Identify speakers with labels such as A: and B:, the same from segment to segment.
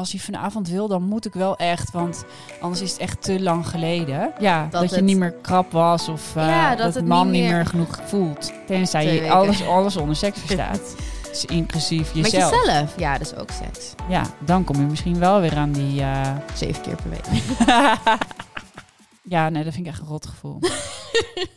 A: Als hij vanavond wil, dan moet ik wel echt, want anders is het echt te lang geleden. Ja, dat,
B: Dat
A: je
B: het-
A: niet meer krap was of eh,
B: Ja,
A: dat,
B: dat
A: de
B: het
A: man
B: niet
A: niet meer,
B: meer-
A: genoeg voelt. Tenzij
B: Twee
A: je
B: weken.
A: alles, alles onder seks verstaat. Dus inclusief jezelf.
B: Met jezelf. Ja, dat is ook seks.
A: Ja, dan kom je misschien wel weer aan die... eh,
B: Zeven keer per week.
A: ja, nee, dat vind ik echt een rot gevoel.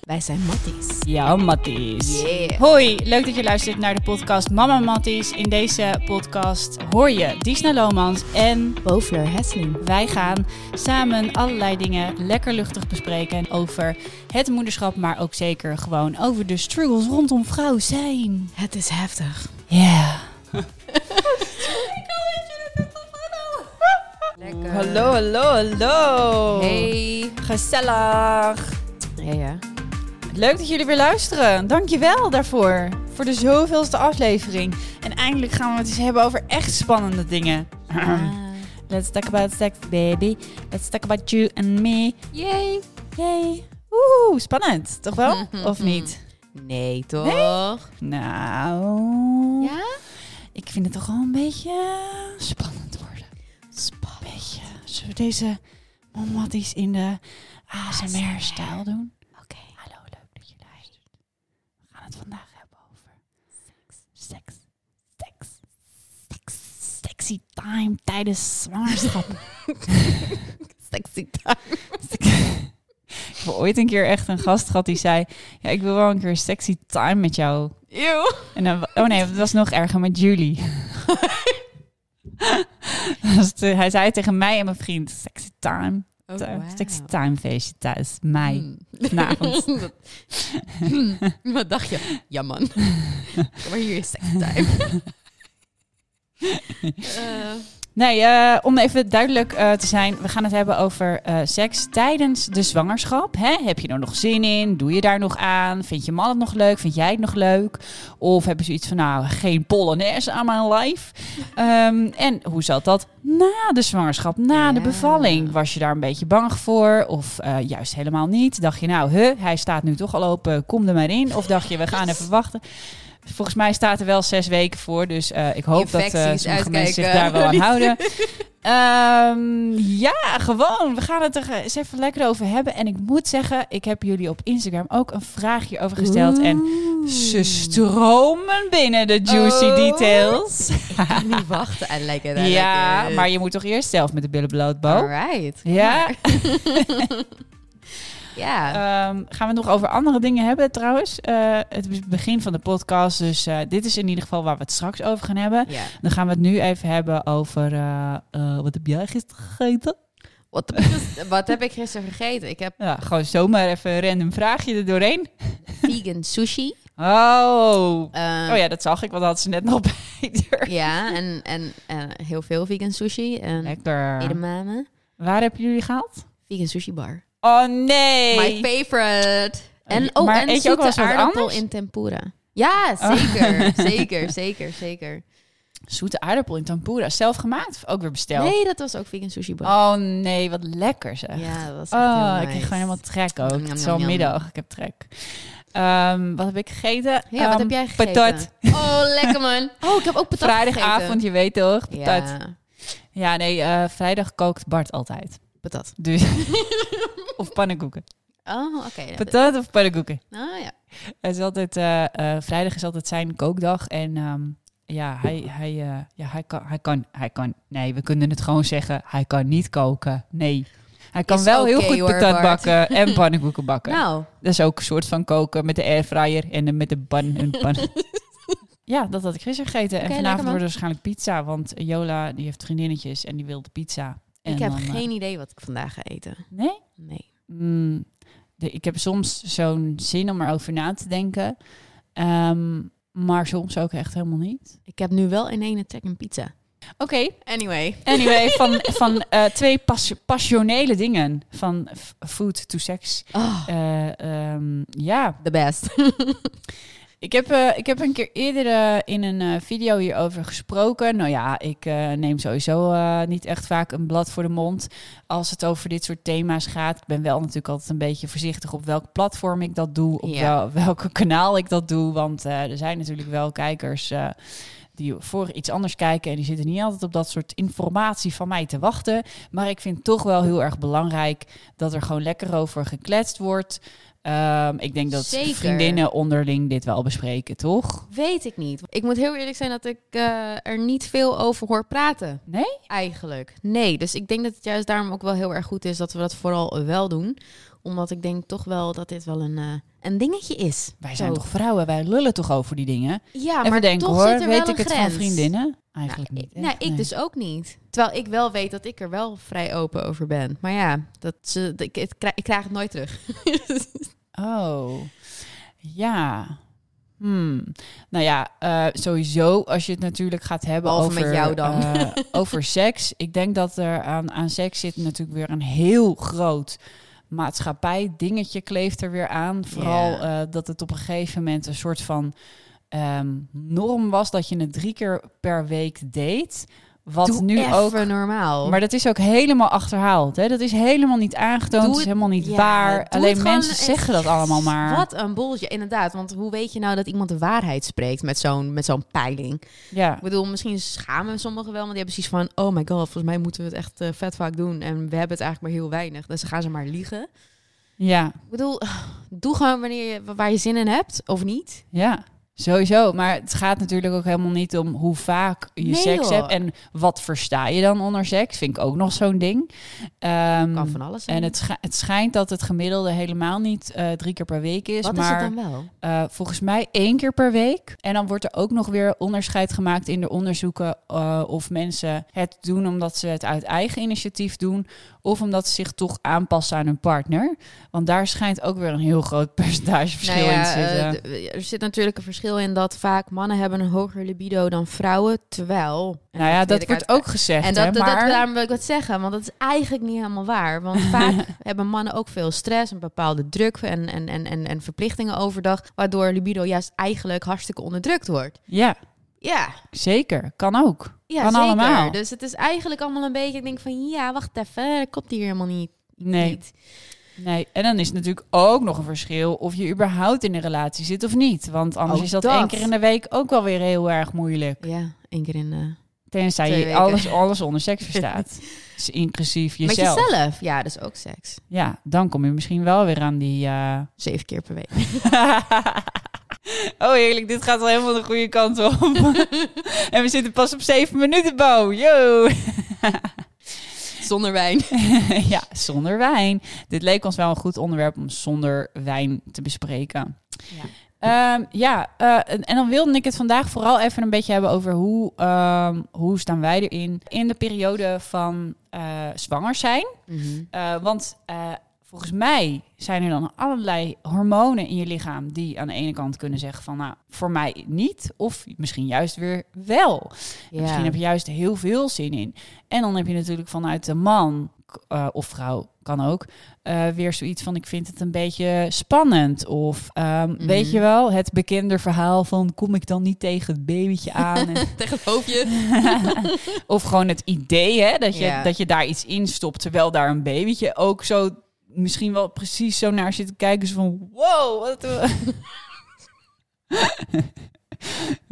B: Wij zijn matties.
A: ja, Matties.
B: Yeah.
A: Hoi, leuk dat je luistert naar de podcast Mama Matties. In deze podcast hoor je Disna Lomans en
B: Bovenleur Hesseling.
A: wij gaan samen allerlei dingen lekker luchtig bespreken over het moederschap, maar ook zeker gewoon over de struggles rondom vrouw zijn.
B: Het is heftig.
A: Ja.
B: Lekker.
A: hallo,
B: Oh.
A: hallo.
B: Hey.
A: Gezellig.
B: Ja, ja.
A: Leuk dat jullie weer luisteren. Dankjewel daarvoor. Voor de zoveelste aflevering. En eindelijk gaan we het eens hebben over echt spannende dingen.
B: Ah.
A: Let's talk about sex, baby. Let's talk about you and me.
B: Yay. Mhm,
A: Yay. Oeh, spannend. Toch wel? Of niet?
B: Nee, toch?
A: Nou,
B: Ja?
A: ik vind het toch wel een beetje spannend worden. Een
B: Spannend.
A: beetje. Zullen we deze mommatties in de ASMR-stijl doen?
B: Oké.
A: Hallo, leuk dat je luistert. We gaan het vandaag hebben over seks. Seks. Seks. Sexy time tijdens zwangerschap.
B: Sexy time.
A: Ik heb ooit een keer echt een gast gehad die zei... Ja, ik wil wel een keer sexy time met jou.
B: Eeuw.
A: En dan, oh nee, het was nog erger met Julie. Dat was te- hij zei tegen mij en mijn vriend... Sexy time.
B: Oh,
A: Sexy
B: Hmm.
A: time feestje thuis. Mei. vanavond.
B: Wat dacht je? Ja, man. Kom maar hier, sexy time. Eh,
A: Nee, eh, om even duidelijk eh, te zijn, we gaan het hebben over eh, seks tijdens de zwangerschap. Hè? Heb je er nog zin in? Doe je daar nog aan? Vind je man het nog leuk? Vind jij het nog leuk? Of hebben ze iets van, nou, geen polonaise aan mijn lijf? Ehm, en hoe zat dat na de zwangerschap, na de
B: Ja.
A: bevalling? Was je daar een beetje bang voor? Of eh, juist helemaal niet? Dacht je, nou, huh, hij staat nu toch al open, kom er maar in. Of dacht je, we gaan even wachten. Volgens mij staat er wel zes weken voor, dus eh, ik hoop dat eh
B: Infecties,
A: sommige mensen zich
B: uitkijken.
A: daar wel aan houden. Ehm, ja, gewoon. We gaan het er eh, eens even lekker over hebben. En ik moet zeggen, ik heb jullie op Instagram ook een vraagje over gesteld. En ze stromen binnen de juicy
B: Oh.
A: details.
B: Ik kan niet wachten. eh, I like it, I
A: Ja,
B: like it.
A: maar je moet toch eerst zelf met de billen bloot, Bo?
B: Alright.
A: Ja.
B: Ja.
A: Ehm, gaan we het nog over andere dingen hebben trouwens? Eh, het is het begin van de podcast, dus eh, dit is in ieder geval waar we het straks over gaan hebben.
B: ja.
A: Dan gaan we het nu even hebben over... eh, eh, wat heb jij gisteren gegeten?
B: Wat, de- wat heb ik gisteren gegeten? Ik heb
A: Ja, gewoon zomaar even een random vraagje er doorheen.
B: vegan sushi.
A: Oh.
B: Eh,
A: Oh ja, dat zag ik, want dat had ze net nog bij de-
B: ja, en, en eh, heel veel vegan sushi. En
A: Lekker.
B: edamame.
A: Waar hebben jullie gehaald?
B: Vegan sushi bar.
A: Oh nee.
B: My favorite. En
A: Oh,
B: oh,
A: maar
B: en
A: eet je ook wel eens
B: zoete
A: wat
B: aardappel
A: anders?
B: in tempura. Ja,
A: Oh.
B: zeker. Zeker, zeker, zeker.
A: Zoete aardappel in tempura. Zelf gemaakt of ook weer besteld?
B: Nee, dat was ook vegan sushi bar.
A: Oh nee, wat lekker zeg.
B: Ja, dat was echt heel
A: Oh,
B: nice.
A: ik kreeg gewoon helemaal trek ook.
B: Nom,
A: het is
B: nom,
A: al
B: nom.
A: middag, ik heb trek. Ehm, wat heb ik gegeten?
B: Ja, wat
A: Ehm,
B: heb jij gegeten?
A: patat.
B: Oh, lekker man. Oh, ik heb ook patat
A: Vrijdagavond, je weet toch?
B: gegeten.
A: Patat. Ja,
B: Ja,
A: nee, eh, vrijdag kookt Bart altijd.
B: patat.
A: Dus of pannenkoeken.
B: Oh, oké. ja,
A: Patat of pannenkoeken.
B: Oh ja.
A: Het is altijd, eh, eh, vrijdag is altijd zijn kookdag. En ehm, ja, hij, hij, eh, ja hij, kan, hij kan, hij kan, nee, we kunnen het gewoon zeggen, hij kan niet koken. Nee. Hij kan
B: Is
A: wel heel
B: oké
A: goed
B: hoor,
A: patat
B: Bart.
A: bakken en pannenkoeken bakken.
B: Nou,
A: Dat is ook een soort van koken met de airfryer en dan met de ban en pan. ja, dat had ik gisteren gegeten.
B: Oké,
A: en
B: lekker,
A: vanavond
B: man.
A: wordt er waarschijnlijk pizza, want Jola die heeft vriendinnetjes en die wilde pizza. En
B: ik heb
A: dan, eh,
B: geen idee wat ik vandaag ga eten.
A: Nee?
B: Nee.
A: Mm, de- ik heb soms zo'n zin om erover na te denken. Ehm, maar soms ook echt helemaal niet.
B: Ik heb nu wel in ene trek een pizza.
A: Oké,
B: Anyway.
A: anyway, van, van eh, twee pas- passionele dingen. Van f- food to sex.
B: Oh,
A: Eh, ehm, ja,
B: the best.
A: Ik heb, eh, ik heb een keer eerder eh, in een eh, video hierover gesproken. Nou ja, ik eh, neem sowieso eh, niet echt vaak een blad voor de mond als het over dit soort thema's gaat. Ik ben wel natuurlijk altijd een beetje voorzichtig op welk platform ik dat doe, op
B: Ja.
A: wel- welke kanaal ik dat doe. Want eh, er zijn natuurlijk wel kijkers eh, die voor iets anders kijken en die zitten niet altijd op dat soort informatie van mij te wachten. Maar ik vind toch wel heel erg belangrijk dat er gewoon lekker over gekletst wordt. Ehm, ik denk dat
B: Zeker.
A: vriendinnen onderling dit wel bespreken, toch?
B: Weet ik niet. Ik moet heel eerlijk zijn dat ik eh, er niet veel over hoor praten.
A: Nee?
B: Eigenlijk. Nee. Dus ik denk dat het juist daarom ook wel heel erg goed is dat we dat vooral eh, wel doen. Omdat ik denk toch wel dat dit wel een, eh, een dingetje is.
A: Wij zijn
B: Zo.
A: toch vrouwen, wij lullen toch over die dingen?
B: Ja,
A: Even
B: maar
A: denken
B: toch
A: hoor,
B: zit er
A: weet
B: wel
A: ik
B: een
A: het van
B: grens.
A: vriendinnen? Eigenlijk
B: nou,
A: niet.
B: ik- nou,
A: echt,
B: ik
A: nee.
B: dus ook niet. Terwijl ik wel weet dat ik er wel vrij open over ben. Maar ja, dat ze, ik, het krijg, ik krijg het nooit terug.
A: Oh, ja. Hmm. Nou ja, eh, sowieso als je het natuurlijk gaat hebben
B: Behalve
A: over,
B: met jou dan.
A: eh, over seks. Ik denk dat er aan, aan seks zit natuurlijk weer een heel groot maatschappij dingetje kleeft er weer aan. Vooral
B: Ja.
A: eh, dat het op een gegeven moment een soort van ehm, norm was dat je het drie keer per week deed. Wat
B: Doe
A: nu
B: even
A: ook
B: normaal.
A: maar dat is ook helemaal achterhaald. Hè? Dat is helemaal niet aangetoond.
B: Doe
A: Dat is
B: het-
A: helemaal niet
B: ja, doe
A: waar.
B: het
A: Alleen
B: gewoon
A: mensen
B: eens-
A: zeggen dat allemaal maar.
B: Wat een boeltje, inderdaad. Want hoe weet je nou dat iemand de waarheid spreekt met zo'n, met zo'n peiling?
A: Ja.
B: Ik bedoel, misschien schamen sommigen wel, want die hebben precies van... oh my god, volgens mij moeten we het echt eh, vet vaak doen... en we hebben het eigenlijk maar heel weinig. Dus dan gaan ze maar liegen.
A: ja,
B: Ik bedoel, eh, doe gewoon wanneer je, waar je zin in hebt, of niet.
A: ja. Sowieso. Maar het gaat natuurlijk ook helemaal niet om hoe vaak je
B: Nee,
A: seks
B: joh.
A: hebt. En wat versta je dan onder seks? Vind ik ook nog zo'n ding. Ehm,
B: Kan van alles zijn.
A: en het, scha- het schijnt dat het gemiddelde helemaal niet eh, drie keer per week is.
B: Wat is
A: maar
B: het dan wel?
A: Eh, volgens mij één keer per week. En dan wordt er ook nog weer onderscheid gemaakt in de onderzoeken eh, of mensen het doen omdat ze het uit eigen initiatief doen of omdat ze zich toch aanpassen aan hun partner. Want daar schijnt ook weer een heel groot percentage verschil
B: Nou
A: in
B: ja,
A: te zitten.
B: eh, d- er zit natuurlijk een verschil in dat vaak mannen hebben een hoger libido dan vrouwen, terwijl... en
A: nou ja,
B: weet
A: dat
B: ik
A: wordt
B: uit-
A: ook gezegd.
B: En
A: hè,
B: dat, dat, dat-
A: maar...
B: daarom wil ik wat zeggen, want dat is eigenlijk niet helemaal waar. Want vaak hebben mannen ook veel stress en bepaalde druk en, en, en, en, en verplichtingen overdag, waardoor libido juist eigenlijk hartstikke onderdrukt wordt.
A: Ja,
B: Ja,
A: zeker. Kan ook.
B: ja
A: Kan
B: zeker.
A: allemaal.
B: Dus het is eigenlijk allemaal een beetje, ik denk van ja, wacht even, dat komt hier helemaal niet.
A: Nee,
B: Niet.
A: nee. En dan is het natuurlijk ook nog een verschil of je überhaupt in een relatie zit of niet. Want anders
B: Ook
A: is dat,
B: dat.
A: één keer in de week ook wel weer heel erg moeilijk.
B: Ja, één keer in eh, de...
A: Tenzij
B: Twee
A: je
B: weken.
A: alles, alles onder seks verstaat. dus inclusief jezelf.
B: Met jezelf. Ja, dat is ook seks.
A: Ja, dan kom je misschien wel weer aan die... eh,
B: Zeven keer per week.
A: oh, heerlijk. Dit gaat wel helemaal de goede kant op. en we zitten pas op zeven minuten, Bo. Yo!
B: Zonder wijn.
A: ja, zonder wijn. Dit leek ons wel een goed onderwerp om zonder wijn te bespreken.
B: Ja.
A: Ehm, ja, eh, en, en dan wilde ik het vandaag vooral even een beetje hebben over hoe, ehm, hoe staan wij erin in de periode van eh, zwanger zijn.
B: Mhm.
A: Eh, want eh, volgens mij zijn er dan allerlei hormonen in je lichaam die aan de ene kant kunnen zeggen van nou, voor mij niet. Of misschien juist weer wel. En Misschien heb je juist heel veel zin in. En dan heb je natuurlijk vanuit de man k- eh, of vrouw kan ook eh, weer zoiets van ik vind het een beetje spannend. Of ehm,
B: Mhm.
A: weet je wel, het bekende verhaal van kom ik dan niet tegen het babytje aan. En
B: Tegen het hoofdje.
A: of gewoon het idee hè, dat, je,
B: Ja.
A: dat je daar iets in stopt. Terwijl daar een babytje ook zo misschien wel precies zo naar zit te kijken. Zo van wow, wat... we-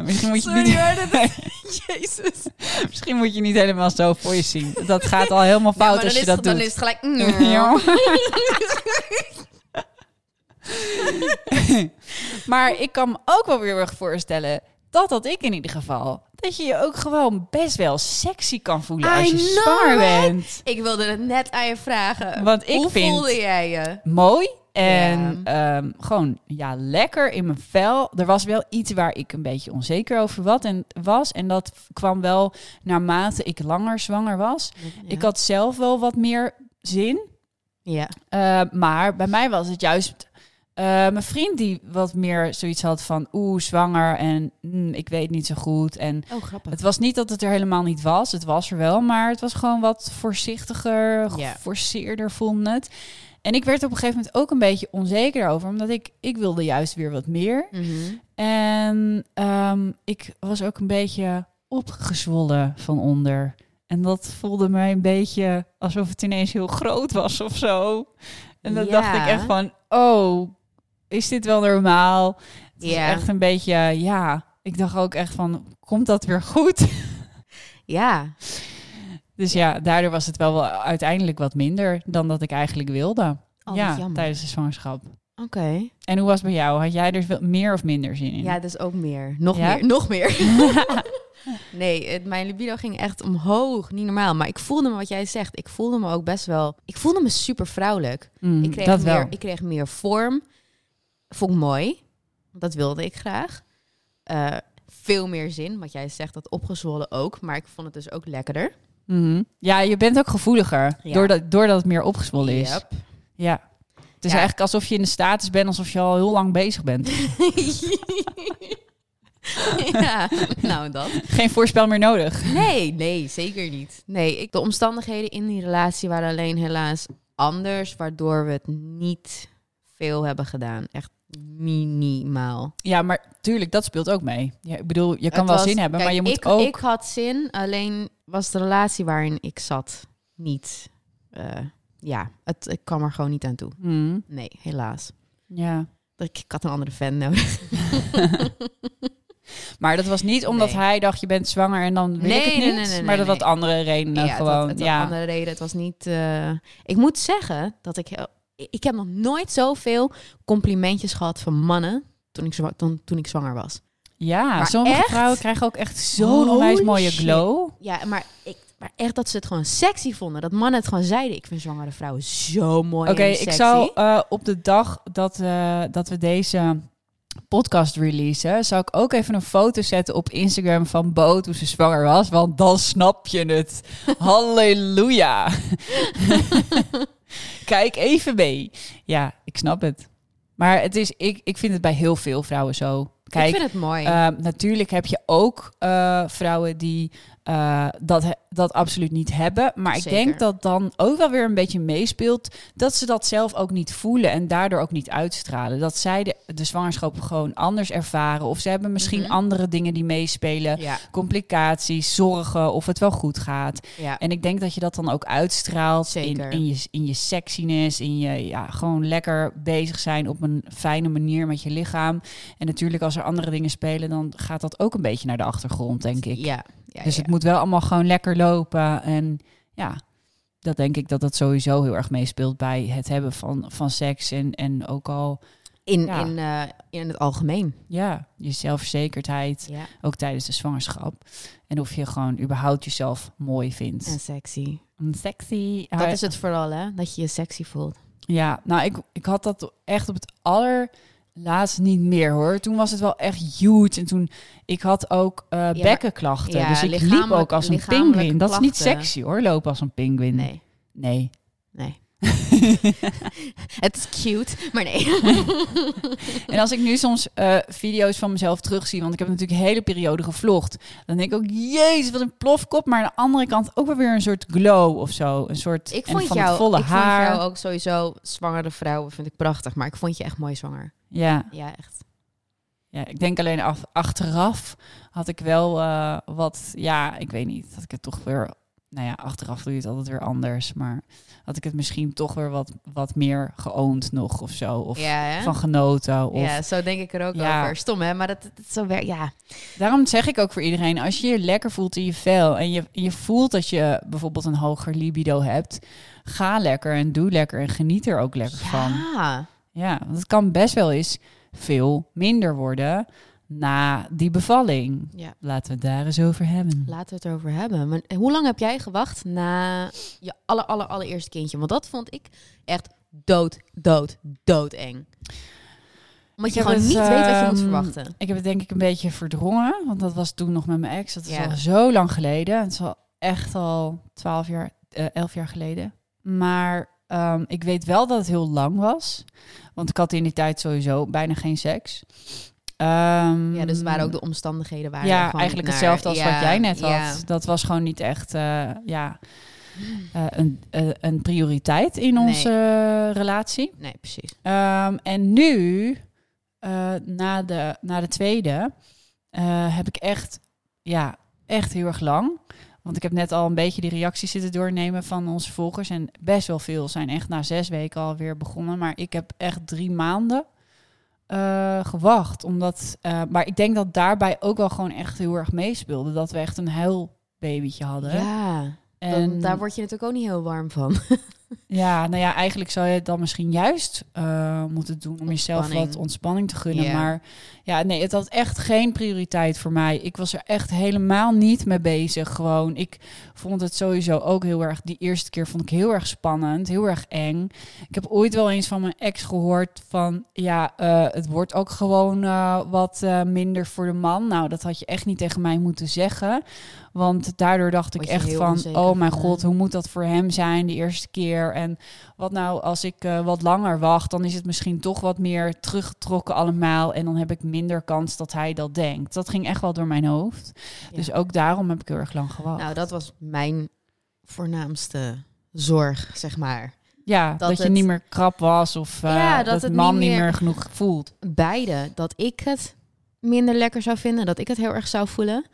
A: misschien, moet je
B: Sorry
A: niet,
B: hoor, dat Jezus.
A: misschien moet je niet helemaal zo voor je zien. Dat gaat al helemaal
B: Ja,
A: fout
B: maar
A: als je
B: dan is
A: dat doet.
B: het- Dan is het gelijk... mm.
A: Ja. maar ik kan me ook wel weer erg voorstellen dat dat ik in ieder geval dat je je ook gewoon best wel sexy kan voelen als
B: I
A: je
B: know
A: zwaar
B: it.
A: bent.
B: Ik wilde het net aan je vragen.
A: Want ik
B: Hoe
A: vind-
B: voelde jij je?
A: Mooi en ehm, gewoon ja lekker in mijn vel. Er was wel iets waar ik een beetje onzeker over wat en was en dat kwam wel naarmate ik langer zwanger was. Ik had zelf wel wat meer zin.
B: Ja.
A: Eh, maar bij mij was het juist eh, mijn vriend die wat meer zoiets had van oeh, zwanger en mm, ik weet niet zo goed. En
B: Oh, grappig.
A: het was niet dat het er helemaal niet was. Het was er wel, maar het was gewoon wat voorzichtiger,
B: Ja.
A: geforceerder vond het. En ik werd op een gegeven moment ook een beetje onzeker over, omdat ik, ik wilde juist weer wat meer.
B: Mhm.
A: En ehm, ik was ook een beetje opgezwollen van onder. En dat voelde mij een beetje alsof het ineens heel groot was of zo. En dan
B: Ja.
A: dacht ik echt van, oh, is dit wel normaal? Het was
B: Ja.
A: echt een beetje, ja, ik dacht ook echt van, komt dat weer goed?
B: Ja,
A: Dus ja, daardoor was het wel, wel uiteindelijk wat minder dan dat ik eigenlijk wilde.
B: oh,
A: ja,
B: wat jammer.
A: tijdens de zwangerschap.
B: Oké.
A: En hoe was het bij jou? Had jij er wel- meer of minder zin in?
B: Ja, dus ook meer. Nog
A: Ja?
B: meer. Nog meer. nee, het, mijn libido ging echt omhoog. Niet normaal. Maar ik voelde me, wat jij zegt, ik voelde me ook best wel... Ik voelde me super vrouwelijk.
A: Mm,
B: Ik kreeg,
A: dat
B: meer,
A: wel.
B: ik kreeg meer vorm. Vond ik mooi. Dat wilde ik graag. Eh, veel meer zin. Wat jij zegt, dat opgezwollen ook. Maar ik vond het dus ook lekkerder.
A: Mhm. Ja, je bent ook gevoeliger.
B: Ja.
A: Doordat, doordat het meer opgezwollen is.
B: Yep.
A: Ja. Het is
B: Ja.
A: eigenlijk alsof je in de status bent, alsof je al heel lang bezig bent.
B: ja, nou dat.
A: Geen voorspel meer nodig.
B: Nee, nee, zeker niet. Nee, ik, de omstandigheden in die relatie waren alleen helaas anders, waardoor we het niet veel hebben gedaan. Echt minimaal.
A: Ja, maar tuurlijk, dat speelt ook mee. Ja, ik bedoel, je kan
B: Het
A: wel
B: was-
A: zin hebben,
B: kijk,
A: maar je moet
B: ik,
A: ook...
B: Ik had zin, alleen was de relatie waarin ik zat niet. eh, ja, het, ik kwam er gewoon niet aan toe.
A: Mhm.
B: Nee, helaas.
A: ja.
B: Ik, ik had een andere fan nodig.
A: Maar dat was niet omdat
B: Nee.
A: hij dacht, je bent zwanger en dan wil
B: Nee,
A: ik het
B: nee,
A: niet.
B: nee, nee,
A: maar dat
B: nee.
A: had andere redenen
B: ja,
A: Nou, gewoon.
B: Het had, het had
A: ja.
B: andere reden. Het was niet. eh, ik moet zeggen dat ik. heel- Ik heb nog nooit zoveel complimentjes gehad van mannen. Toen ik, zwa- toen, toen ik zwanger was.
A: ja,
B: Maar
A: sommige
B: echt?
A: vrouwen krijgen ook echt zo'n
B: Holy
A: onwijs mooie
B: shit.
A: glow.
B: Ja, maar, ik, maar echt dat ze het gewoon sexy vonden. Dat mannen het gewoon zeiden. Ik vind zwangere vrouwen zo mooi.
A: Oké,
B: en
A: ik
B: sexy.
A: zou eh, op de dag dat, eh, dat we deze podcast releasen, zou ik ook even een foto zetten op Instagram van Bo toen ze zwanger was, want dan snap je het. Halleluja. Kijk even mee. Ja, ik snap het. Maar het is, ik, ik vind het bij heel veel vrouwen zo. Kijk,
B: ik vind het mooi.
A: Ehm, natuurlijk heb je ook eh, vrouwen die eh, dat, he- dat absoluut niet hebben. Maar ik
B: Zeker.
A: denk dat dan ook wel weer een beetje meespeelt dat ze dat zelf ook niet voelen en daardoor ook niet uitstralen. Dat zij de, de zwangerschap gewoon anders ervaren. Of ze hebben misschien
B: Mhm.
A: andere dingen die meespelen.
B: ja,
A: Complicaties, zorgen, of het wel goed gaat.
B: ja.
A: En ik denk dat je dat dan ook uitstraalt in,
B: Zeker.
A: in, je, in je sexiness, in je ja, gewoon lekker bezig zijn op een fijne manier met je lichaam. En natuurlijk als er andere dingen spelen, dan gaat dat ook een beetje naar de achtergrond, denk ik.
B: ja, ja,
A: dus
B: ja.
A: het moet wel allemaal gewoon lekker lopen. En ja, dat denk ik dat dat sowieso heel erg meespeelt bij het hebben van, van seks. En, en ook al
B: in,
A: ja.
B: in, eh, in het algemeen.
A: ja, je zelfverzekerdheid,
B: Ja.
A: ook tijdens de zwangerschap. En of je gewoon überhaupt jezelf mooi vindt.
B: En sexy.
A: Sexy.
B: Dat is het vooral, hè? Dat je je sexy voelt.
A: Ja, nou, ik, ik had dat echt op het allerlaatst niet meer hoor. Toen was het wel echt huge. En toen, ik had ook eh,
B: maar-
A: bekkenklachten.
B: ja,
A: dus ik liep
B: lichamelijk-
A: ook als een
B: lichamelijke
A: pinguïn. Dat is niet
B: klachten.
A: sexy hoor, lopen als een pinguïn.
B: Nee.
A: Nee.
B: Nee. het is cute, maar nee.
A: En als ik nu soms eh, video's van mezelf terugzie, want ik heb natuurlijk een hele periode gevlogd, dan denk ik ook, jezus, wat een plofkop. Maar aan de andere kant ook wel weer een soort glow of zo. Een soort
B: Ik
A: en
B: vond,
A: van
B: jou,
A: het volle
B: ik
A: haar.
B: vond jou ook sowieso zwangere vrouwen vind ik prachtig, maar ik vond je echt mooi zwanger.
A: Ja.
B: Ja, echt.
A: Ja, ik denk alleen af, achteraf had ik wel eh, wat, ja, ik weet niet, dat ik het toch weer, nou ja, achteraf doe je het altijd weer anders, maar had ik het misschien toch weer wat, wat meer geoond nog of zo, of
B: ja, hè?
A: van genoten. Of...
B: ja, zo denk ik er ook
A: Ja.
B: over. Stom hè, maar dat, dat zo werkt. Ja,
A: Daarom zeg ik ook voor iedereen, als je je lekker voelt in je vel en je, je voelt dat je bijvoorbeeld een hoger libido hebt, ga lekker en doe lekker en geniet er ook lekker van.
B: ja.
A: Ja, want het kan best wel eens veel minder worden na die bevalling.
B: Ja.
A: Laten we het daar eens over hebben.
B: Laten we het erover hebben. Maar eh, hoe lang heb jij gewacht na je aller, aller, allereerste kindje? Want dat vond ik echt dood, dood, doodeng. Omdat
A: Ik
B: je
A: heb
B: gewoon
A: het,
B: niet weet wat je moet
A: ehm,
B: verwachten.
A: Ik heb het denk ik een beetje verdrongen, want dat was toen nog met mijn ex. Dat is
B: Ja.
A: al zo lang geleden. Het is al echt al twaalf jaar, eh, elf jaar geleden. Maar ehm, ik weet wel dat het heel lang was, want ik had in die tijd sowieso bijna geen seks. Ehm,
B: Ja, dus het waren ook de omstandigheden waar je
A: ja,
B: gewoon
A: eigenlijk
B: naar-
A: hetzelfde als
B: Ja,
A: wat jij net had.
B: ja.
A: Dat was gewoon niet echt eh, ja, eh, een, eh, een prioriteit in
B: Nee.
A: onze relatie.
B: Nee, precies.
A: Ehm, en nu, eh, na, de, na de tweede, eh, heb ik echt, ja, echt heel erg lang. Want ik heb net al een beetje die reacties zitten doornemen van onze volgers. En best wel veel zijn echt na zes weken alweer begonnen. Maar ik heb echt drie maanden eh, eh, gewacht. Omdat, eh, maar ik denk dat daarbij ook wel gewoon echt heel erg meespeelde. Dat we echt een huilbabytje hadden.
B: Ja,
A: en
B: dan, daar word je natuurlijk ook niet heel warm van.
A: Ja, nou ja, eigenlijk zou je het dan misschien juist eh, moeten doen om jezelf
B: Ontspanning.
A: wat ontspanning te gunnen.
B: Ja.
A: Maar ja, nee, het had echt geen prioriteit voor mij. Ik was er echt helemaal niet mee bezig. Gewoon, ik vond het sowieso ook heel erg. Die eerste keer vond ik heel erg spannend, heel erg eng. Ik heb ooit wel eens van mijn ex gehoord van ja, eh, het wordt ook gewoon eh, wat eh, minder voor de man. Nou, dat had je echt niet tegen mij moeten zeggen. Want daardoor dacht ik
B: Word je
A: echt
B: heel
A: van,
B: onzeker
A: oh mijn
B: van,
A: god,
B: hè?
A: hoe moet dat voor hem zijn de eerste keer? En wat nou als ik eh, wat langer wacht, dan is het misschien toch wat meer teruggetrokken allemaal. En dan heb ik minder kans dat hij dat denkt. Dat ging echt wel door mijn hoofd.
B: Ja.
A: Dus ook daarom heb ik heel erg lang gewacht.
B: Nou, dat was mijn voornaamste zorg, zeg maar.
A: ja, dat, je
B: het-
A: niet meer krap was of eh,
B: Ja,
A: dat,
B: dat
A: de
B: het
A: man
B: niet
A: niet
B: meer-
A: meer genoeg voelt.
B: Beide, dat ik het minder lekker zou vinden, dat ik het heel erg zou voelen.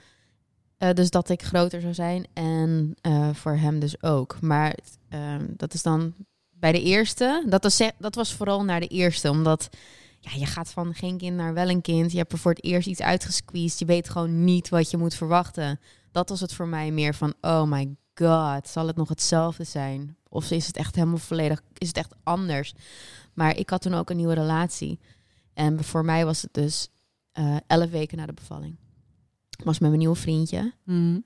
B: Eh, dus dat ik groter zou zijn en eh, voor hem dus ook. Maar ehm, dat is dan bij de eerste. Dat was, ze- dat was vooral naar de eerste, omdat ja, je gaat van geen kind naar wel een kind. Je hebt er voor het eerst iets uitgesqueezed. Je weet gewoon niet wat je moet verwachten. Dat was het voor mij meer van, oh my god, zal het nog hetzelfde zijn? Of is het echt helemaal volledig, is het echt anders? Maar ik had toen ook een nieuwe relatie. En voor mij was het dus eh elf weken na de bevalling. Ik was met mijn nieuwe vriendje.
A: Mm.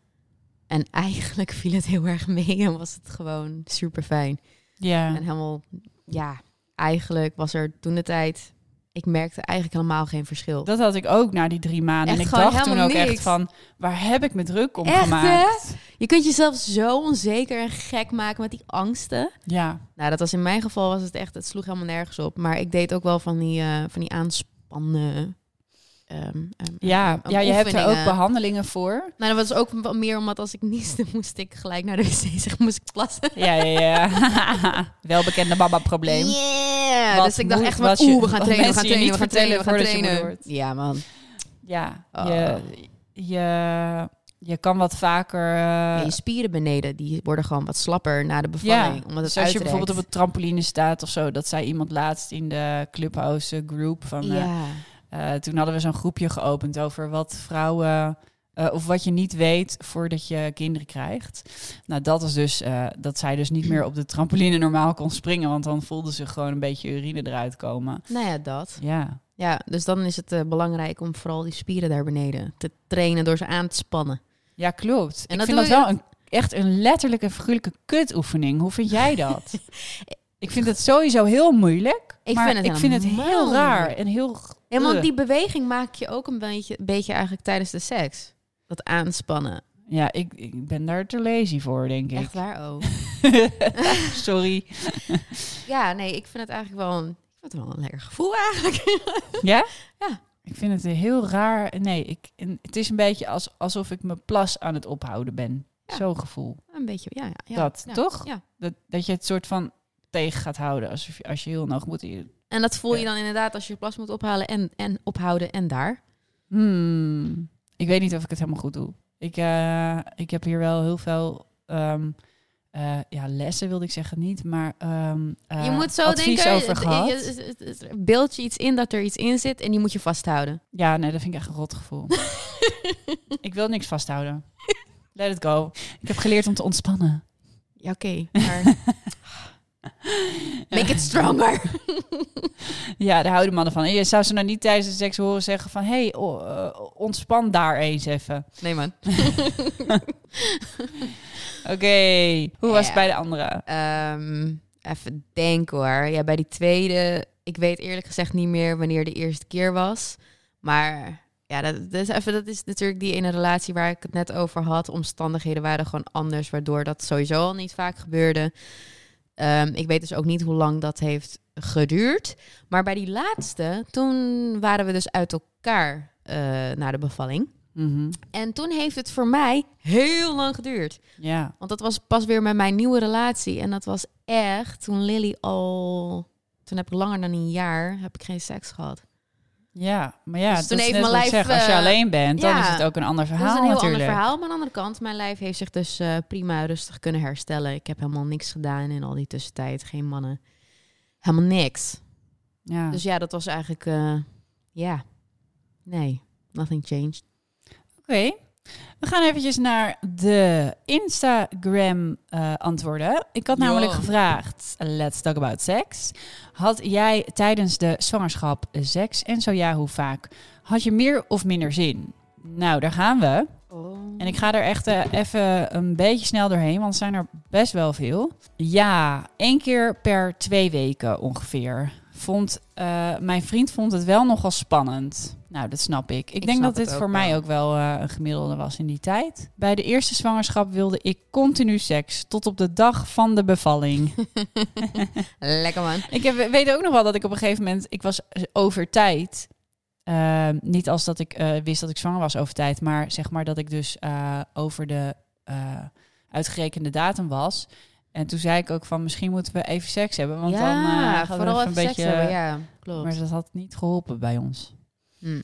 B: En eigenlijk viel het heel erg mee en was het gewoon super fijn.
A: Ja.
B: En helemaal, ja, eigenlijk was er toen de tijd, ik merkte eigenlijk helemaal geen verschil.
A: Dat had ik ook na die drie maanden.
B: Echt
A: en ik
B: gewoon
A: dacht toen
B: helemaal
A: ook echt
B: niks.
A: van, waar heb ik me druk om
B: Echt,
A: gemaakt?
B: Je kunt jezelf zo onzeker en gek maken met die angsten.
A: Ja,
B: Nou, dat was in mijn geval, was het echt, het sloeg helemaal nergens op. Maar ik deed ook wel van die, eh, van die aanspannen. ehm, ehm,
A: ja.
B: ehm,
A: ja je hebt er ook
B: oefeningen.
A: behandelingen voor.
B: Nou, dat was ook wel meer omdat als ik nieste, moest ik gelijk naar de wc, zeg, moest ik plassen.
A: Ja, ja, ja. Welbekende mama-probleem.
B: Yeah!
A: Wat
B: dus ik dacht
A: moe-
B: echt van,
A: wat je-
B: oeh, we gaan
A: wat
B: trainen,
A: mensen
B: we gaan
A: je
B: trainen,
A: niet
B: we gaan
A: vertellen
B: trainen, we gaan
A: voordat je moeder
B: trainen.
A: wordt.
B: Ja, man.
A: Ja,
B: Oh.
A: je, je, je kan wat vaker... eh,
B: Ja, je spieren beneden, die worden gewoon wat slapper na de
A: ja,
B: bevalling.
A: dus
B: omdat het
A: als je
B: uitrekt.
A: bijvoorbeeld op een trampoline staat of zo... dat zei iemand laatst in de Clubhouse eh, group van... eh,
B: Ja,
A: Eh, toen hadden we zo'n groepje geopend over wat vrouwen. eh, of wat je niet weet voordat je kinderen krijgt. Nou, dat is dus eh, dat zij dus niet meer op de trampoline normaal kon springen. Want dan voelde ze gewoon een beetje urine eruit komen.
B: nou ja, dat.
A: Ja,
B: Ja, dus dan is het eh, belangrijk om vooral die spieren daar beneden te trainen door ze aan te spannen.
A: ja klopt.
B: En
A: ik
B: dat
A: vind dat
B: doe je-
A: wel een, echt een letterlijke en figuurlijke kutoefening. Hoe vind jij dat? ik vind het sowieso heel moeilijk.
B: Ik
A: maar
B: vind het
A: ik vind het heel
B: helemaal
A: raar.
B: moeilijk.
A: En heel.
B: Ja, want die beweging maak je ook een beetje, een beetje eigenlijk tijdens de seks. Dat aanspannen.
A: Ja, ik, ik ben daar te lazy voor, denk ik.
B: Echt waar Oh. ook.
A: Sorry.
B: Ja, nee, ik vind het eigenlijk wel een, ik vind het wel een lekker gevoel eigenlijk.
A: Ja?
B: Ja.
A: Ik vind het heel raar. Nee, ik, en het is een beetje als, alsof ik mijn plas aan het ophouden ben.
B: Ja.
A: Zo'n gevoel.
B: een beetje, ja. ja, ja.
A: dat,
B: Ja.
A: toch?
B: ja.
A: Dat, dat je het soort van tegen gaat houden. Alsof je, als je heel nog moet... je-
B: En dat voel je
A: Ja.
B: dan inderdaad als je je plas moet ophalen en, en ophouden en daar.
A: Hmm. Ik weet niet of ik het helemaal goed doe. Ik, eh, ik heb hier wel heel veel... ehm, eh, ja, lessen wilde ik zeggen niet, maar ehm, eh,
B: je moet zo
A: advies
B: denken,
A: over
B: het-
A: gehad.
B: je- het- het- het- het- beeld je iets in dat er iets in zit en die moet je vasthouden.
A: Ja, nee, dat vind ik echt een rot gevoel. ik wil niks vasthouden. Let it go. Ik heb geleerd om te ontspannen.
B: Ja, oké. maar make it stronger.
A: Ja, daar houden mannen van. En je zou ze nou niet tijdens de seks horen zeggen van... hé, hey, o- eh, ontspan daar eens even.
B: Nee, man.
A: Oké, hoe was het
B: Ja.
A: bij de andere?
B: Ehm, even denken hoor. Ja, bij die tweede, ik weet eerlijk gezegd niet meer wanneer de eerste keer was. Maar ja, dat, dat, is, even, dat is natuurlijk die ene relatie waar ik het net over had. Omstandigheden waren gewoon anders, waardoor dat sowieso al niet vaak gebeurde. Ehm, ik weet dus ook niet hoe lang dat heeft geduurd. Maar bij die laatste, toen waren we dus uit elkaar eh, na de bevalling. En toen heeft het voor mij heel lang geduurd.
A: Ja,
B: Want dat was pas weer met mijn nieuwe relatie. En dat was echt toen Lily al... Toen heb ik langer dan een jaar heb ik geen seks gehad.
A: ja, maar ja,
B: Dus toen
A: dat is
B: heeft
A: net
B: mijn
A: wat ik
B: lijf,
A: zeg. Als je
B: eh,
A: alleen bent, dan
B: ja,
A: is het ook een ander verhaal
B: dat is een heel
A: natuurlijk.
B: ander verhaal. Maar aan de andere kant, mijn lijf heeft zich dus eh, prima rustig kunnen herstellen. Ik heb helemaal niks gedaan in al die tussentijd. Geen mannen. Helemaal niks.
A: Ja.
B: Dus ja, dat was eigenlijk eh, Ja. Nee, nothing changed.
A: Oké. We gaan eventjes naar de Instagram-antwoorden. ik had namelijk
B: Yo.
A: gevraagd, let's talk about sex. Had jij tijdens de zwangerschap seks en zo ja, hoe vaak? Had je meer of minder zin? Nou, daar gaan we.
B: Oh.
A: En ik ga er echt eh, even een beetje snel doorheen, want er zijn er best wel veel. Ja, één keer per twee weken ongeveer. Vond, eh, mijn vriend vond het wel nogal spannend. Nou, dat snap ik. Ik, denk
B: snap
A: dat
B: het
A: dit
B: ook
A: voor mij
B: wel.
A: ook wel eh, een gemiddelde was in die tijd. Bij de eerste zwangerschap wilde ik continu seks, tot op de dag van de bevalling.
B: Lekker man.
A: Ik heb, weet ook nog wel dat ik op een gegeven moment, ik was eh, over tijd. Eh, niet als dat ik eh, wist dat ik zwanger was over tijd, maar zeg maar dat ik dus eh, over de eh, uitgerekende datum was. En toen zei ik ook van misschien moeten we even seks hebben, want dan eh, gaan we
B: vooral
A: nog
B: even
A: een
B: seks
A: beetje.
B: hebben. Ja, klopt.
A: Maar dat had niet geholpen bij ons.
B: Hm.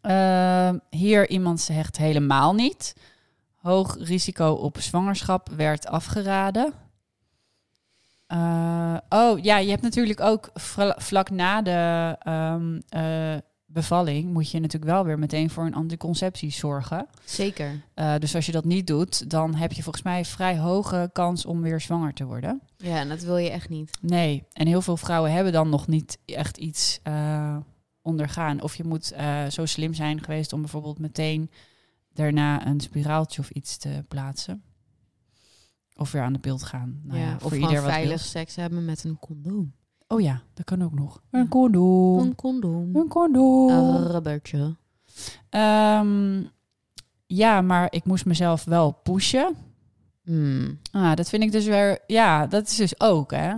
A: Eh, hier iemand zegt helemaal niet. Hoog risico op zwangerschap werd afgeraden. Eh, oh ja, je hebt natuurlijk ook vla- vlak na de ehm, eh, bevalling moet je natuurlijk wel weer meteen voor een anticonceptie zorgen.
B: Zeker.
A: Eh, dus als je dat niet doet, dan heb je volgens mij vrij hoge kans om weer zwanger te worden.
B: Ja, en dat wil je echt niet.
A: Nee, en heel veel vrouwen hebben dan nog niet echt iets eh, ondergaan. Of je moet eh, zo slim zijn geweest om bijvoorbeeld meteen daarna een spiraaltje of iets te plaatsen. Of weer aan de pil te gaan. Nou ja,
B: ja, of
A: voor
B: gewoon
A: ieder wat
B: veilig
A: wil.
B: seks hebben met een condoom.
A: Oh ja, dat kan ook nog.
B: Ja. Ah.
A: Een condoom.
B: Een condoom.
A: Een condoom.
B: Een rubbertje.
A: Ehm, ja, maar ik moest mezelf wel pushen.
B: Hmm.
A: Ah, dat vind ik dus weer... Ja, dat is dus ook, hè.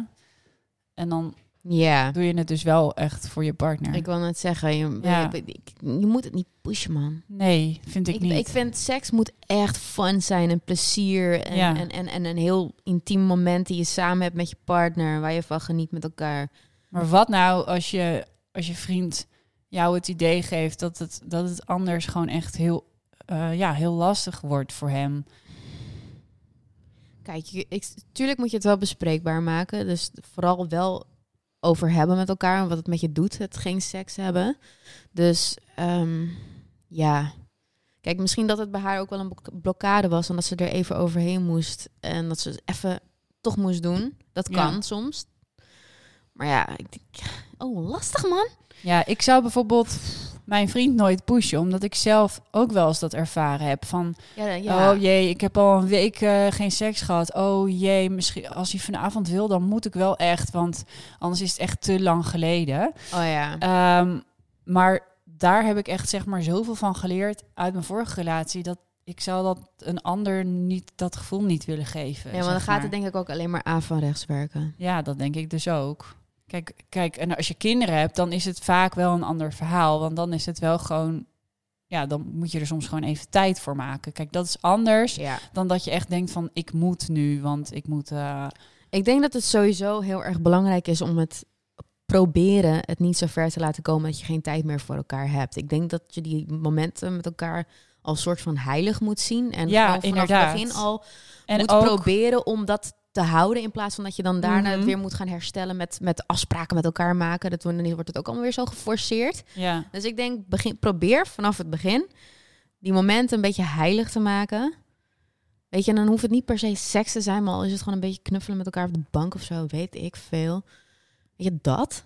A: En dan
B: Ja,
A: doe je het dus wel echt voor je partner.
B: ik wil net zeggen, je,
A: Ja.
B: ik- ik- je moet het niet pushen, man.
A: Nee, vind ik,
B: Ik,
A: niet.
B: ik vind seks moet echt fun zijn en plezier. En,
A: Ja.
B: en, en, en een heel intiem moment die je samen hebt met je partner, waar je van geniet met elkaar.
A: Maar wat nou als je, als je vriend jou het idee geeft dat het, dat het anders gewoon echt heel, eh, ja, heel lastig wordt voor hem?
B: Kijk, je- ik, tuurlijk moet je het wel bespreekbaar maken. Dus vooral wel over hebben met elkaar en wat het met je doet, het geen seks hebben. Dus ehm, ja. Kijk, misschien dat het bij haar ook wel een blok- blokkade was en dat ze er even overheen moest en dat ze het even toch moest doen. Dat
A: Ja.
B: kan soms. Maar ja, ik denk, oh, lastig man.
A: Ja, ik zou bijvoorbeeld mijn vriend nooit pushen, omdat ik zelf ook wel eens dat ervaren heb van,
B: Ja, ja.
A: oh jee, ik heb al een week eh, geen seks gehad. Oh jee, misschien als hij vanavond wil, dan moet ik wel echt, want anders is het echt te lang geleden.
B: Oh ja.
A: Ehm, maar daar heb ik echt zeg maar zoveel van geleerd uit mijn vorige relatie dat ik zou dat een ander niet dat gevoel niet willen geven.
B: Nee, want
A: zeg
B: dan gaat
A: maar.
B: het denk ik ook alleen maar aan van rechts werken.
A: Ja, dat denk ik dus ook. Kijk, kijk, en als je kinderen hebt, dan is het vaak wel een ander verhaal, want dan is het wel gewoon ja, dan moet je er soms gewoon even tijd voor maken. Kijk, dat is anders
B: Ja.
A: dan dat je echt denkt van ik moet nu, want ik moet eh,
B: Ik denk dat het sowieso heel erg belangrijk is om het proberen het niet zo ver te laten komen dat je geen tijd meer voor elkaar hebt. Ik denk dat je die momenten met elkaar als soort van heilig moet zien en
A: Ja,
B: gewoon vanaf
A: inderdaad.
B: het begin al
A: en
B: moet
A: ook
B: proberen om dat te houden in plaats van dat je dan daarna
A: Mhm.
B: weer moet gaan herstellen met, met afspraken met elkaar maken. Dat wordt, dan wordt het ook allemaal weer zo geforceerd.
A: ja.
B: Dus ik denk, begin, probeer vanaf het begin die momenten een beetje heilig te maken. Weet je, en dan hoeft het niet per se seks te zijn, maar al is het gewoon een beetje knuffelen met elkaar op de bank of zo, weet ik veel. Weet je, dat?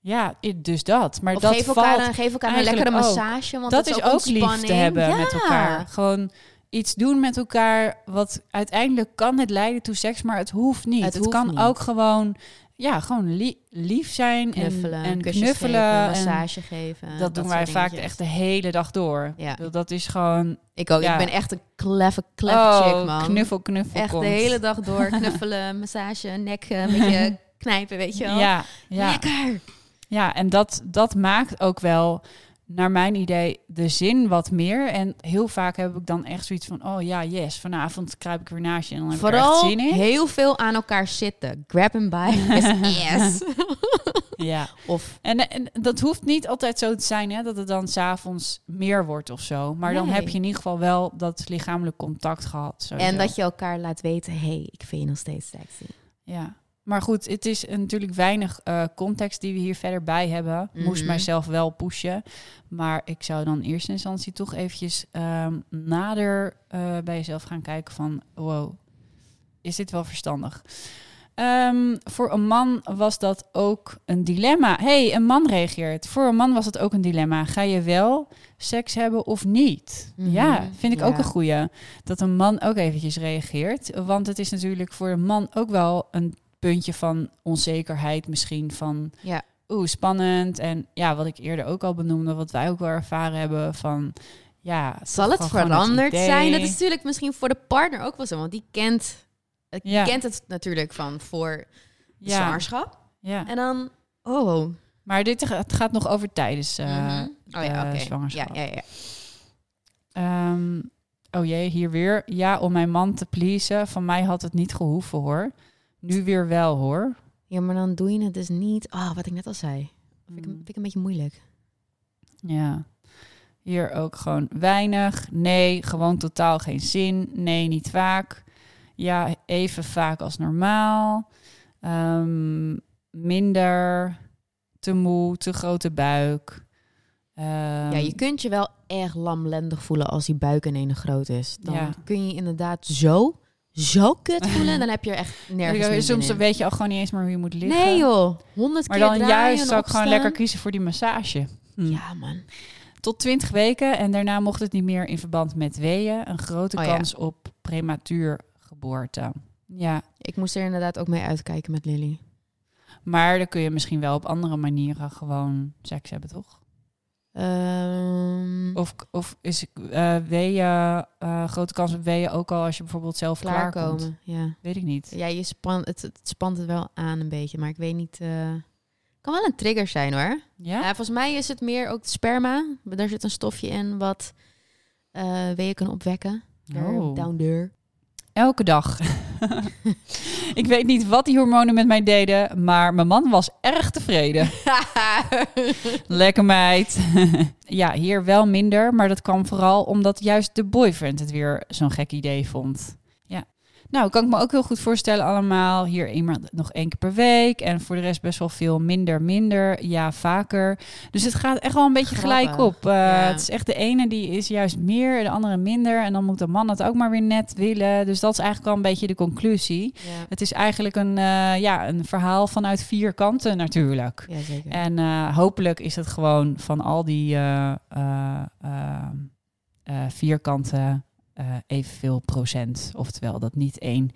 A: Ja, i- dus dat. Maar
B: of
A: dat
B: geef
A: valt
B: elkaar, een, geef elkaar een lekkere
A: eigenlijk ook.
B: massage, want
A: dat,
B: dat,
A: is ook, lief
B: ontspanning.
A: te hebben
B: Ja.
A: met elkaar. Gewoon iets doen met elkaar. Wat uiteindelijk kan het leiden toe seks, maar het hoeft niet. Het,
B: Het hoeft
A: kan
B: niet.
A: ook gewoon, ja, gewoon li- lief zijn
B: Knuffelen,
A: en, en
B: kusjes
A: knuffelen.
B: geven,
A: en
B: massage geven.
A: dat doen wij
B: soort
A: vaak
B: dingetjes.
A: echt de hele dag door.
B: Ja.
A: Ik bedoel, Dat is gewoon
B: Ik ook,
A: Ja.
B: ik ben echt een clever, clever
A: oh,
B: chick, man.
A: knuffel, knuffel.
B: echt
A: komt.
B: de hele dag door, knuffelen, massage, nek, eh, een beetje knijpen, weet je wel.
A: Ja, ja,
B: Lekker!
A: ja, en dat, dat maakt ook wel, naar mijn idee, de zin wat meer. En heel vaak heb ik dan echt zoiets van, oh ja, yes, vanavond kruip ik weer naast je en dan heb ik er echt
B: Vooral
A: zin in.
B: heel veel aan elkaar zitten. Grab and by his ass.
A: Ja.
B: Of
A: En, en dat hoeft niet altijd zo te zijn, hè, dat het dan s'avonds meer wordt of zo. Maar dan
B: Nee.
A: heb je in ieder geval wel dat
B: Oh,
A: lichamelijk contact gehad. Sowieso.
B: en dat je elkaar laat weten, hey, ik vind je nog steeds sexy.
A: Ja. Maar goed, het is een- natuurlijk weinig eh, context die we hier verder bij hebben. Moest
B: Mhm.
A: mijzelf wel pushen. Maar ik zou dan in eerste instantie toch eventjes ehm, nader eh, bij jezelf gaan kijken van... Wow, is dit wel verstandig? Ehm, voor een man was dat ook een dilemma. hey, een man reageert. Voor een man was dat ook een dilemma. Ga je wel seks hebben of niet?
B: Mhm,
A: Ja, vind ik ook
B: ja.
A: een goeie. Dat een man ook eventjes reageert. Want het is natuurlijk voor een man ook wel een puntje van onzekerheid misschien van
B: Ja.
A: oeh spannend en ja wat ik eerder ook al benoemde wat wij ook wel ervaren hebben van ja
B: Zal het
A: toch wel gewoon
B: veranderd
A: idee.
B: zijn? Dat is natuurlijk misschien voor de partner ook wel zo, want die kent, eh,
A: Ja.
B: kent het natuurlijk van voor de
A: ja,
B: zwangerschap.
A: ja
B: En dan, oh,
A: maar dit ga- het gaat nog over tijdens eh,
B: mhm. oh ja,
A: de
B: oké.
A: zwangerschap.
B: Ja, ja, ja.
A: Ehm, oh jee, hier weer. Ja, om mijn man te pleasen. Van mij had het niet gehoeven hoor. Nu weer wel hoor.
B: ja, maar dan doe je het dus niet. Ah, wat ik net al zei. Vind ik,
A: Mm.
B: vind ik een beetje moeilijk.
A: Ja. Hier ook gewoon weinig. Nee, gewoon totaal geen zin. Nee, niet vaak. Ja, even vaak als normaal. Ehm, minder. Te moe, te grote buik. Ehm,
B: ja, je kunt je wel erg lamlendig voelen als die buik in ene groot is. Dan
A: Ja.
B: kun je inderdaad zo, zo kut voelen. Dan heb je er echt nergens meer
A: Soms
B: zin in.
A: weet je al gewoon niet eens meer hoe je moet liggen.
B: Nee joh, honderd
A: maar
B: keer
A: dan
B: draaien
A: juist
B: en
A: zou ik gewoon
B: opstaan.
A: lekker kiezen voor die massage. Hm.
B: Ja man.
A: Tot 20 weken en daarna mocht het niet meer in verband met weeën. Een grote
B: Oh ja.
A: kans op prematuur geboorte. Ja,
B: Ik moest er inderdaad ook mee uitkijken met Lily.
A: Maar dan kun je misschien wel op andere manieren gewoon seks hebben, toch?
B: Ehm,
A: Of, of is eh weeën, eh, grote kans op weeën ook al als je bijvoorbeeld zelf klaarkomt?
B: klaarkomen. Ja.
A: Weet ik niet.
B: ja, je span, het, het spant het wel aan een beetje, maar ik weet niet. eh, kan wel een trigger zijn hoor.
A: Ja?
B: Ja, volgens mij is het meer ook het sperma. Maar Daar zit een stofje in wat eh weeën kan opwekken.
A: Oh.
B: Down there.
A: Elke dag. ik weet niet wat die hormonen met mij deden, maar mijn man was erg tevreden. Lekker meid. ja, hier wel minder, maar dat kwam vooral omdat juist de boyfriend het weer zo'n gek idee vond. Ja. Nou, kan ik me ook heel goed voorstellen allemaal. Hier iemand nog één keer per week en voor de rest best wel veel minder, minder. Ja, vaker. Dus het gaat echt wel een beetje gelijk
B: Grappig.
A: op. Eh,
B: Ja.
A: Het is echt de ene die is juist meer, de andere minder. En dan moet de man het ook maar weer net willen. Dus dat is eigenlijk wel een beetje de conclusie.
B: Ja,
A: Het is eigenlijk een, eh, ja, een verhaal vanuit vier kanten natuurlijk.
B: ja zeker.
A: En eh, hopelijk is het gewoon van al die eh, eh, eh, eh, vierkanten eh, evenveel procent. Oftewel dat niet één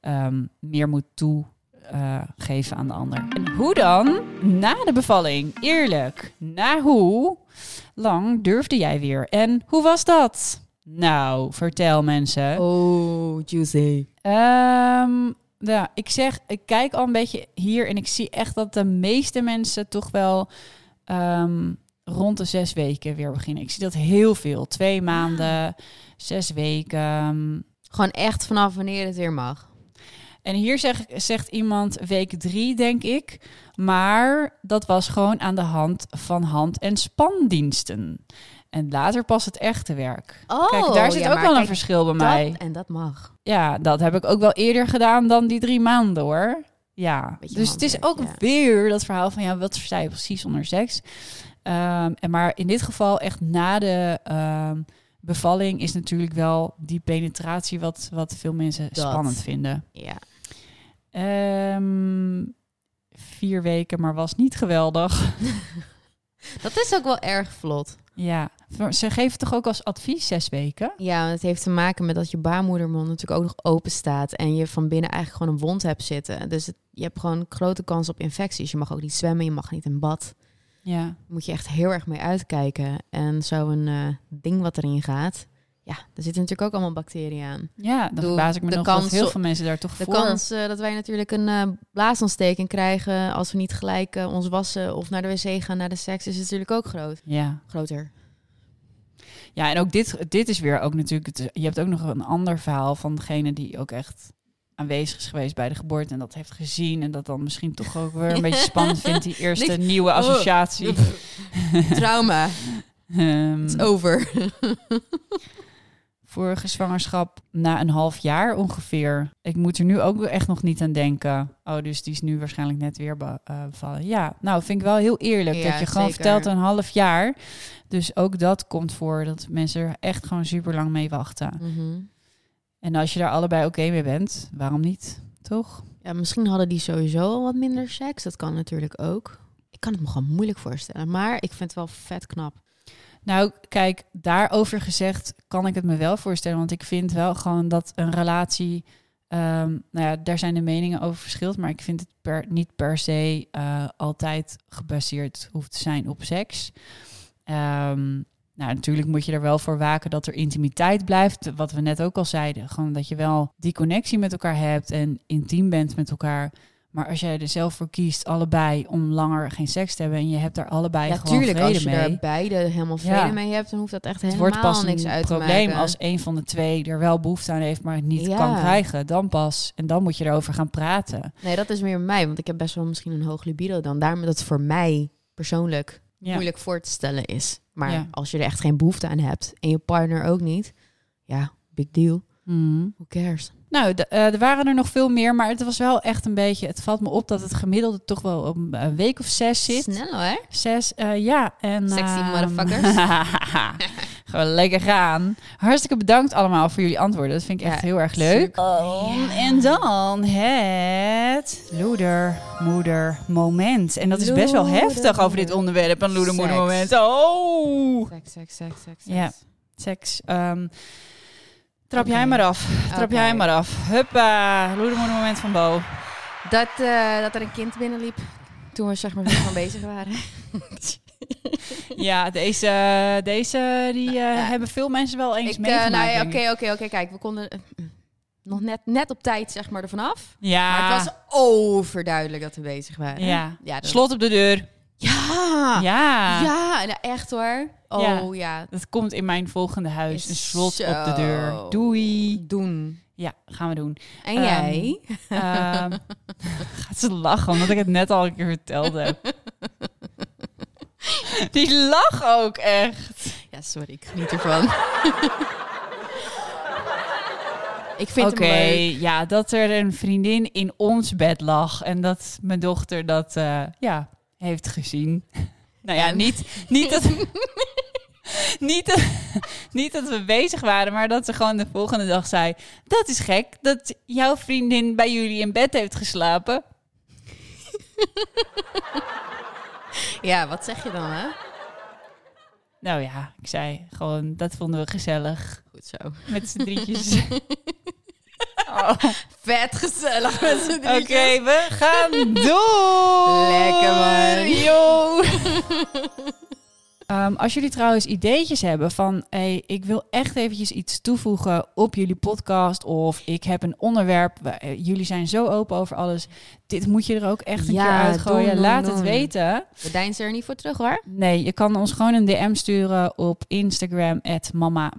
A: ehm, meer moet toegeven aan de ander. En hoe dan? Na de bevalling, eerlijk, na hoe lang durfde jij weer? En hoe was dat? Nou, vertel mensen.
B: Oh, juicy.
A: Ehm, nou, ja, ik zeg, ik kijk al een beetje hier en ik zie echt dat de meeste mensen toch wel ehm, rond de zes weken weer beginnen. Ik zie dat heel veel. Twee maanden, zes weken.
B: Gewoon echt vanaf wanneer het weer mag.
A: En hier zeg, zegt iemand week drie, denk ik. Maar dat was gewoon aan de hand van hand- en spandiensten. En later pas het echte werk.
B: Oh,
A: kijk, daar zit
B: ja,
A: ook
B: maar
A: wel een
B: kijk,
A: verschil bij mij.
B: Dat, en dat mag.
A: ja, dat heb ik ook wel eerder gedaan dan die drie maanden hoor. Ja,
B: Beetje
A: dus het is ook
B: handwerk, ja.
A: weer dat verhaal van ja, wat versta je precies onder seks? Ehm, en maar in dit geval echt na de ehm, bevalling is natuurlijk wel die penetratie wat, wat veel mensen
B: Dat.
A: spannend vinden.
B: Ja.
A: Ehm, vier weken, maar was niet geweldig.
B: Dat is ook wel erg vlot.
A: Ja, ze geven toch ook als advies zes weken?
B: Ja, want het heeft te maken met dat je baarmoedermond natuurlijk ook nog open staat. En je van binnen eigenlijk gewoon een wond hebt zitten. Dus het- je hebt gewoon grote kans op infecties. Je mag ook niet zwemmen, je mag niet in bad.
A: Ja,
B: Daar moet je echt heel erg mee uitkijken. En zo'n eh, ding wat erin gaat. Ja, daar zitten natuurlijk ook allemaal bacteriën aan.
A: ja dan
B: Doe,
A: verbaas ik me
B: de
A: nog dat
B: kans
A: heel
B: op-
A: veel mensen daar toch
B: De
A: voor...
B: kans eh, dat wij natuurlijk een eh, blaasontsteking krijgen als we niet gelijk eh, ons wassen of naar de wc gaan naar de seks, is natuurlijk ook groot.
A: Ja,
B: Groter.
A: Ja, en ook dit, dit is weer ook natuurlijk. het- je hebt ook nog een ander verhaal van degene die ook echt aanwezig is geweest bij de geboorte en dat heeft gezien en dat dan misschien toch ook weer een beetje spannend vindt die eerste
B: Niks-
A: nieuwe
B: Oh.
A: associatie.
B: Trauma. Mm.
A: Ehm,
B: It's over.
A: vorige zwangerschap na een half jaar ongeveer. Ik moet er nu ook echt nog niet aan denken. Oh, dus die is nu waarschijnlijk net weer be- eh, bevallen. Ja, nou vind ik wel heel eerlijk
B: Ja,
A: dat je gewoon
B: zeker.
A: vertelt een half jaar. Dus ook dat komt voor dat mensen er echt gewoon super lang mee wachten.
B: Mhm.
A: En als je daar allebei oké mee bent, waarom niet? Toch?
B: Ja, misschien hadden die sowieso al wat minder seks. Dat kan natuurlijk ook. Ik kan het me gewoon moeilijk voorstellen. Maar ik vind het wel vet knap.
A: Nou, kijk, daarover gezegd kan ik het me wel voorstellen. Want ik vind wel gewoon dat een relatie. ehm, nou ja, daar zijn de meningen over verschild. Maar ik vind het per, niet per se eh, altijd gebaseerd hoeft te zijn op seks. Ehm, nou, natuurlijk moet je er wel voor waken dat er intimiteit blijft. Wat we net ook al zeiden. Gewoon dat je wel die connectie met elkaar hebt en intiem bent met elkaar. Maar als jij er zelf voor kiest, allebei, om langer geen seks te hebben... en je hebt daar allebei
B: Ja,
A: gewoon
B: tuurlijk,
A: vrede
B: als je
A: mee...
B: er beide helemaal vrede
A: Ja.
B: mee hebt, dan hoeft dat
A: Het
B: echt helemaal
A: wordt pas een
B: niks uit te
A: probleem
B: maken.
A: als een van de twee er wel behoefte aan heeft, maar het niet
B: Ja.
A: kan krijgen. Dan pas. En dan moet je erover gaan praten.
B: Nee, dat is meer mij, want ik heb best wel misschien een hoog libido dan. Daarom dat het voor mij persoonlijk
A: Ja.
B: moeilijk voor te stellen is. Maar
A: Ja.
B: als je er echt geen behoefte aan hebt en je partner ook niet, ja, big deal.
A: Mhm.
B: Who cares?
A: Nou, d- eh, er waren er nog veel meer, maar het was wel echt een beetje. Het valt me op dat het gemiddelde toch wel om een week of zes zit.
B: Snel hè?
A: Zes, eh, ja. En,
B: Sexy
A: ehm,
B: motherfuckers.
A: Gewoon lekker gaan. Hartstikke bedankt allemaal voor jullie antwoorden. Dat vind ik echt
B: Ja,
A: heel erg leuk.
B: super.
A: Oh, En dan het loedermoedermoment. En dat is best wel heftig over dit
B: Loedermoeder.
A: onderwerp, een loedermoedermoment.
B: Seks.
A: Oh!
B: Seks, seks, seks, seks.
A: Ja. Seks. ehm, trap
B: Oké.
A: jij maar af. Trap
B: Oké.
A: jij maar af. Huppa, loedermoedermoment van Bo.
B: Dat, eh, dat er een kind binnenliep toen we zeg maar weer van bezig waren.
A: Ja, deze, deze die, eh,
B: nou,
A: hebben veel mensen wel eens
B: Ik, eh,
A: meegemaakt.
B: nou ja,
A: denk ik.
B: Oké, oké, oké. Kijk, we konden eh, nog net, net op tijd zeg maar ervan af.
A: Ja.
B: Maar het was overduidelijk dat we bezig waren.
A: Ah. Ja.
B: Ja. dat-
A: Slot op de deur.
B: Ja.
A: Ja.
B: Ja, nou echt hoor. Oh ja.
A: Dat komt in mijn volgende huis.
B: Is
A: Een slot
B: zo.
A: op de deur. Doei.
B: Doen.
A: Ja, gaan we doen.
B: En
A: Ehm,
B: jij?
A: Ehm, gaat ze lachen, omdat ik het net al een keer verteld heb. Die lach ook echt.
B: Ja, sorry, ik geniet ervan. ik vind
A: Oké,
B: hem leuk.
A: ja, dat er een vriendin in ons bed lag en dat mijn dochter dat eh, ja, heeft gezien. Nou ja,
B: Ja.
A: niet, niet, dat, niet, dat, niet dat we bezig waren, maar dat ze gewoon de volgende dag zei: Dat is gek dat jouw vriendin bij jullie in bed heeft geslapen.
B: Ja, wat zeg je dan hè?
A: Nou ja, ik zei gewoon: Dat vonden we gezellig
B: Goed zo.
A: met z'n drietjes. Oh,
B: Vet gezellig met z'n
A: Oké,
B: drieën.
A: we gaan door.
B: Lekker, man.
A: Yo. Ehm, als jullie trouwens ideetjes hebben van, hey, ik wil echt eventjes iets toevoegen op jullie podcast of ik heb een onderwerp, we- eh, jullie zijn zo open over alles, dit moet je er ook echt een
B: Ja,
A: keer uitgooien,
B: doen, doen,
A: laat het
B: doen.
A: weten.
B: We deinzen er niet voor terug hoor.
A: Nee, je kan ons gewoon een DM sturen op Instagram, mama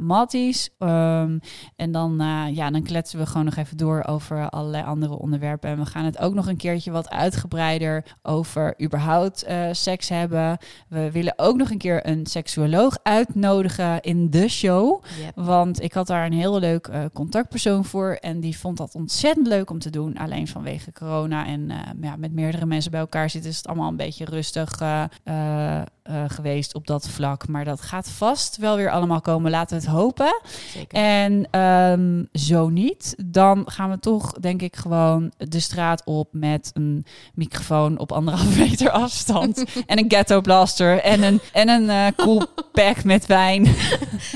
A: en dan, eh, ja, dan kletsen we gewoon nog even door over allerlei andere onderwerpen. En we gaan het ook nog een keertje wat uitgebreider over überhaupt eh, seks hebben. We willen ook nog een keer een seksuoloog uitnodigen in de show. Want ik had daar een heel leuk eh, contactpersoon voor. En die vond dat ontzettend leuk om te doen. Alleen vanwege corona en eh, ja, met meerdere mensen bij elkaar zitten... is het allemaal een beetje rustig eh, eh, eh, geweest op dat vlak. Maar dat gaat vast wel weer allemaal komen. Laten we het hopen.
B: Zeker.
A: En ehm, zo niet, dan gaan we toch denk ik gewoon de straat op... met een microfoon op anderhalf meter afstand. en een ghetto blaster en een, en een eh, cool pack met wijn.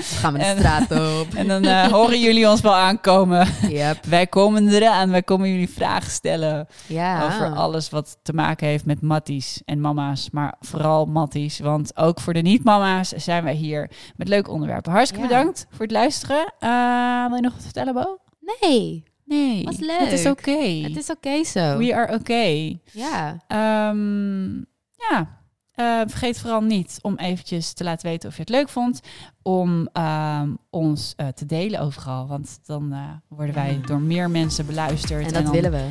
B: gaan we de
A: en-
B: straat op.
A: En dan eh, horen jullie ons wel aankomen.
B: Yep.
A: Wij komen eraan. Wij komen jullie vragen stellen
B: Ja.
A: over alles wat te maken heeft met matties en mama's. Maar vooral matties. Want ook voor de niet-mama's zijn wij hier met leuke onderwerpen. Hartstikke
B: Ja.
A: bedankt voor het luisteren. Eh, wil je nog wat vertellen, Bo?
B: Nee,
A: Nee.
B: Was
A: Het is
B: leuk.
A: oké.
B: het is oké zo.
A: We are oké.
B: Ja.
A: Ehm, ja. Eh, vergeet vooral niet om eventjes te laten weten of je het leuk vond. Om ehm, ons eh, te delen overal. Want dan eh, worden wij door meer mensen beluisterd.
B: En dat
A: dan
B: willen we.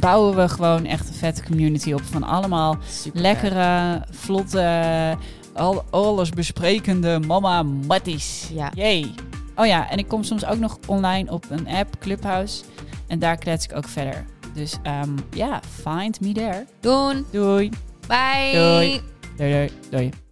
A: bouwen we gewoon echt een vette community op. Van allemaal
B: Super.
A: lekkere, vlotte, al, alles besprekende mama matties.
B: Ja.
A: Jee. Oké, Oh ja, en ik kom soms ook nog online op een app, Clubhouse. En daar klets ik ook verder. Dus ehm, ja, find me there.
B: Doen.
A: Doei.
B: Bye.
A: Doei. Doei, doei, doei.